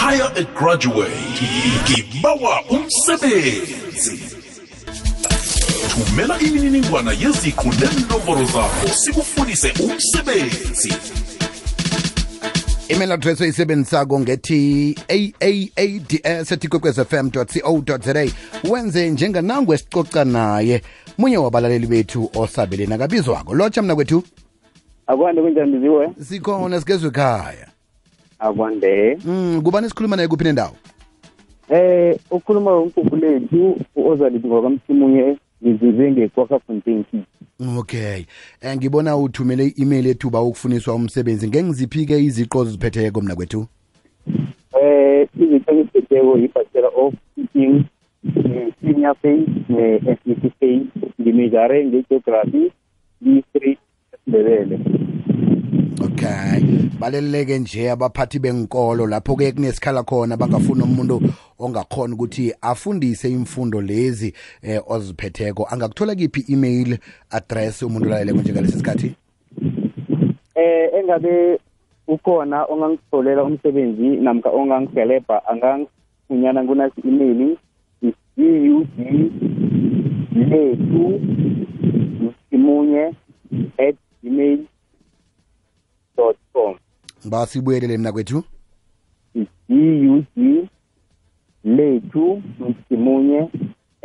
hire a graduate ngibawa umsebenzi thumela imininingwana yeziqu nenomboro zakho sikufunise umsebenzi email address oyisebenzisako ngethi aaads fm co za wenze njenganangu esicoca naye munye wabalaleli bethu osabeleni akabizwako lotsha mna kwethu akwande kunjani biziwe sikhona sigezwe ekhaya akwande mm, kubani sikhuluma naye kuphi nendawo eh ukhuluma ngomkukhu lethu uozalithi kwakamsimunye ngizinze ngekwakafontein okay Eh, ngibona uthumele i-email ethuba ukufuniswa umsebenzi ngengiziphi-ke iziqo oziziphetheko mna kwethu eh izinto engizibetheko i-bachelor of teaching ne-senior phase ne-sec phase ngimejare ngegeography ngi-straight sindebele okay baleleke nje abaphathi benkolo lapho-ke kunesikhala khona bangafuni umuntu ongakhona ukuthi afundise imfundo lezi eh, oziphetheko angakuthola kiphi i-email address umuntu olaleleko njengalesi sikhathi eh engabe ukhona ongangitholela umsebenzi namkha ongangihelebha angangifunyana kunasi email i-gud lethu simunye at gmail dot com basibuyelele mna kwethu i-gud lethu simunye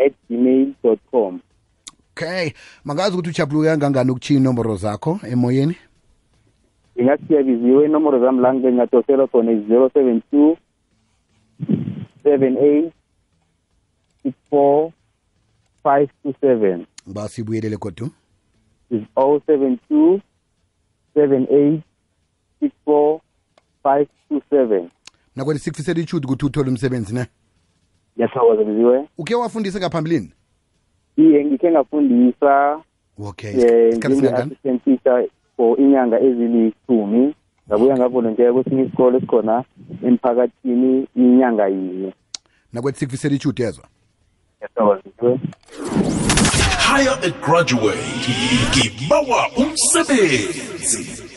at gmail dot com okay mangazi ukuthi ujabuluke kangangani ukutshiya inomboro zakho emoyeni ngingasiyabiziwe inomoro zami la ngingatosela khona i-zero seven two seven eight six four five two seven basibuyelele kodwa is oh seven two seven eight six four five two seven nakwena sikufisela ichuti ukuthi uthole umsebenzi ne ngiyathokoza biziwe ukhe wafundise ngaphambilini iye ngikhe ngafundisa okay eh, isikhathi singangani njenge-assistant teacher for inyanga ezilithumi ngabuya ngavolonteya kwesinye isikolo esikhona emphakathini inyanga yinye nakwethi sikufisela ichuti yezwa ngiyathokoza biziwe hire a graduate ngibawa umsebenzi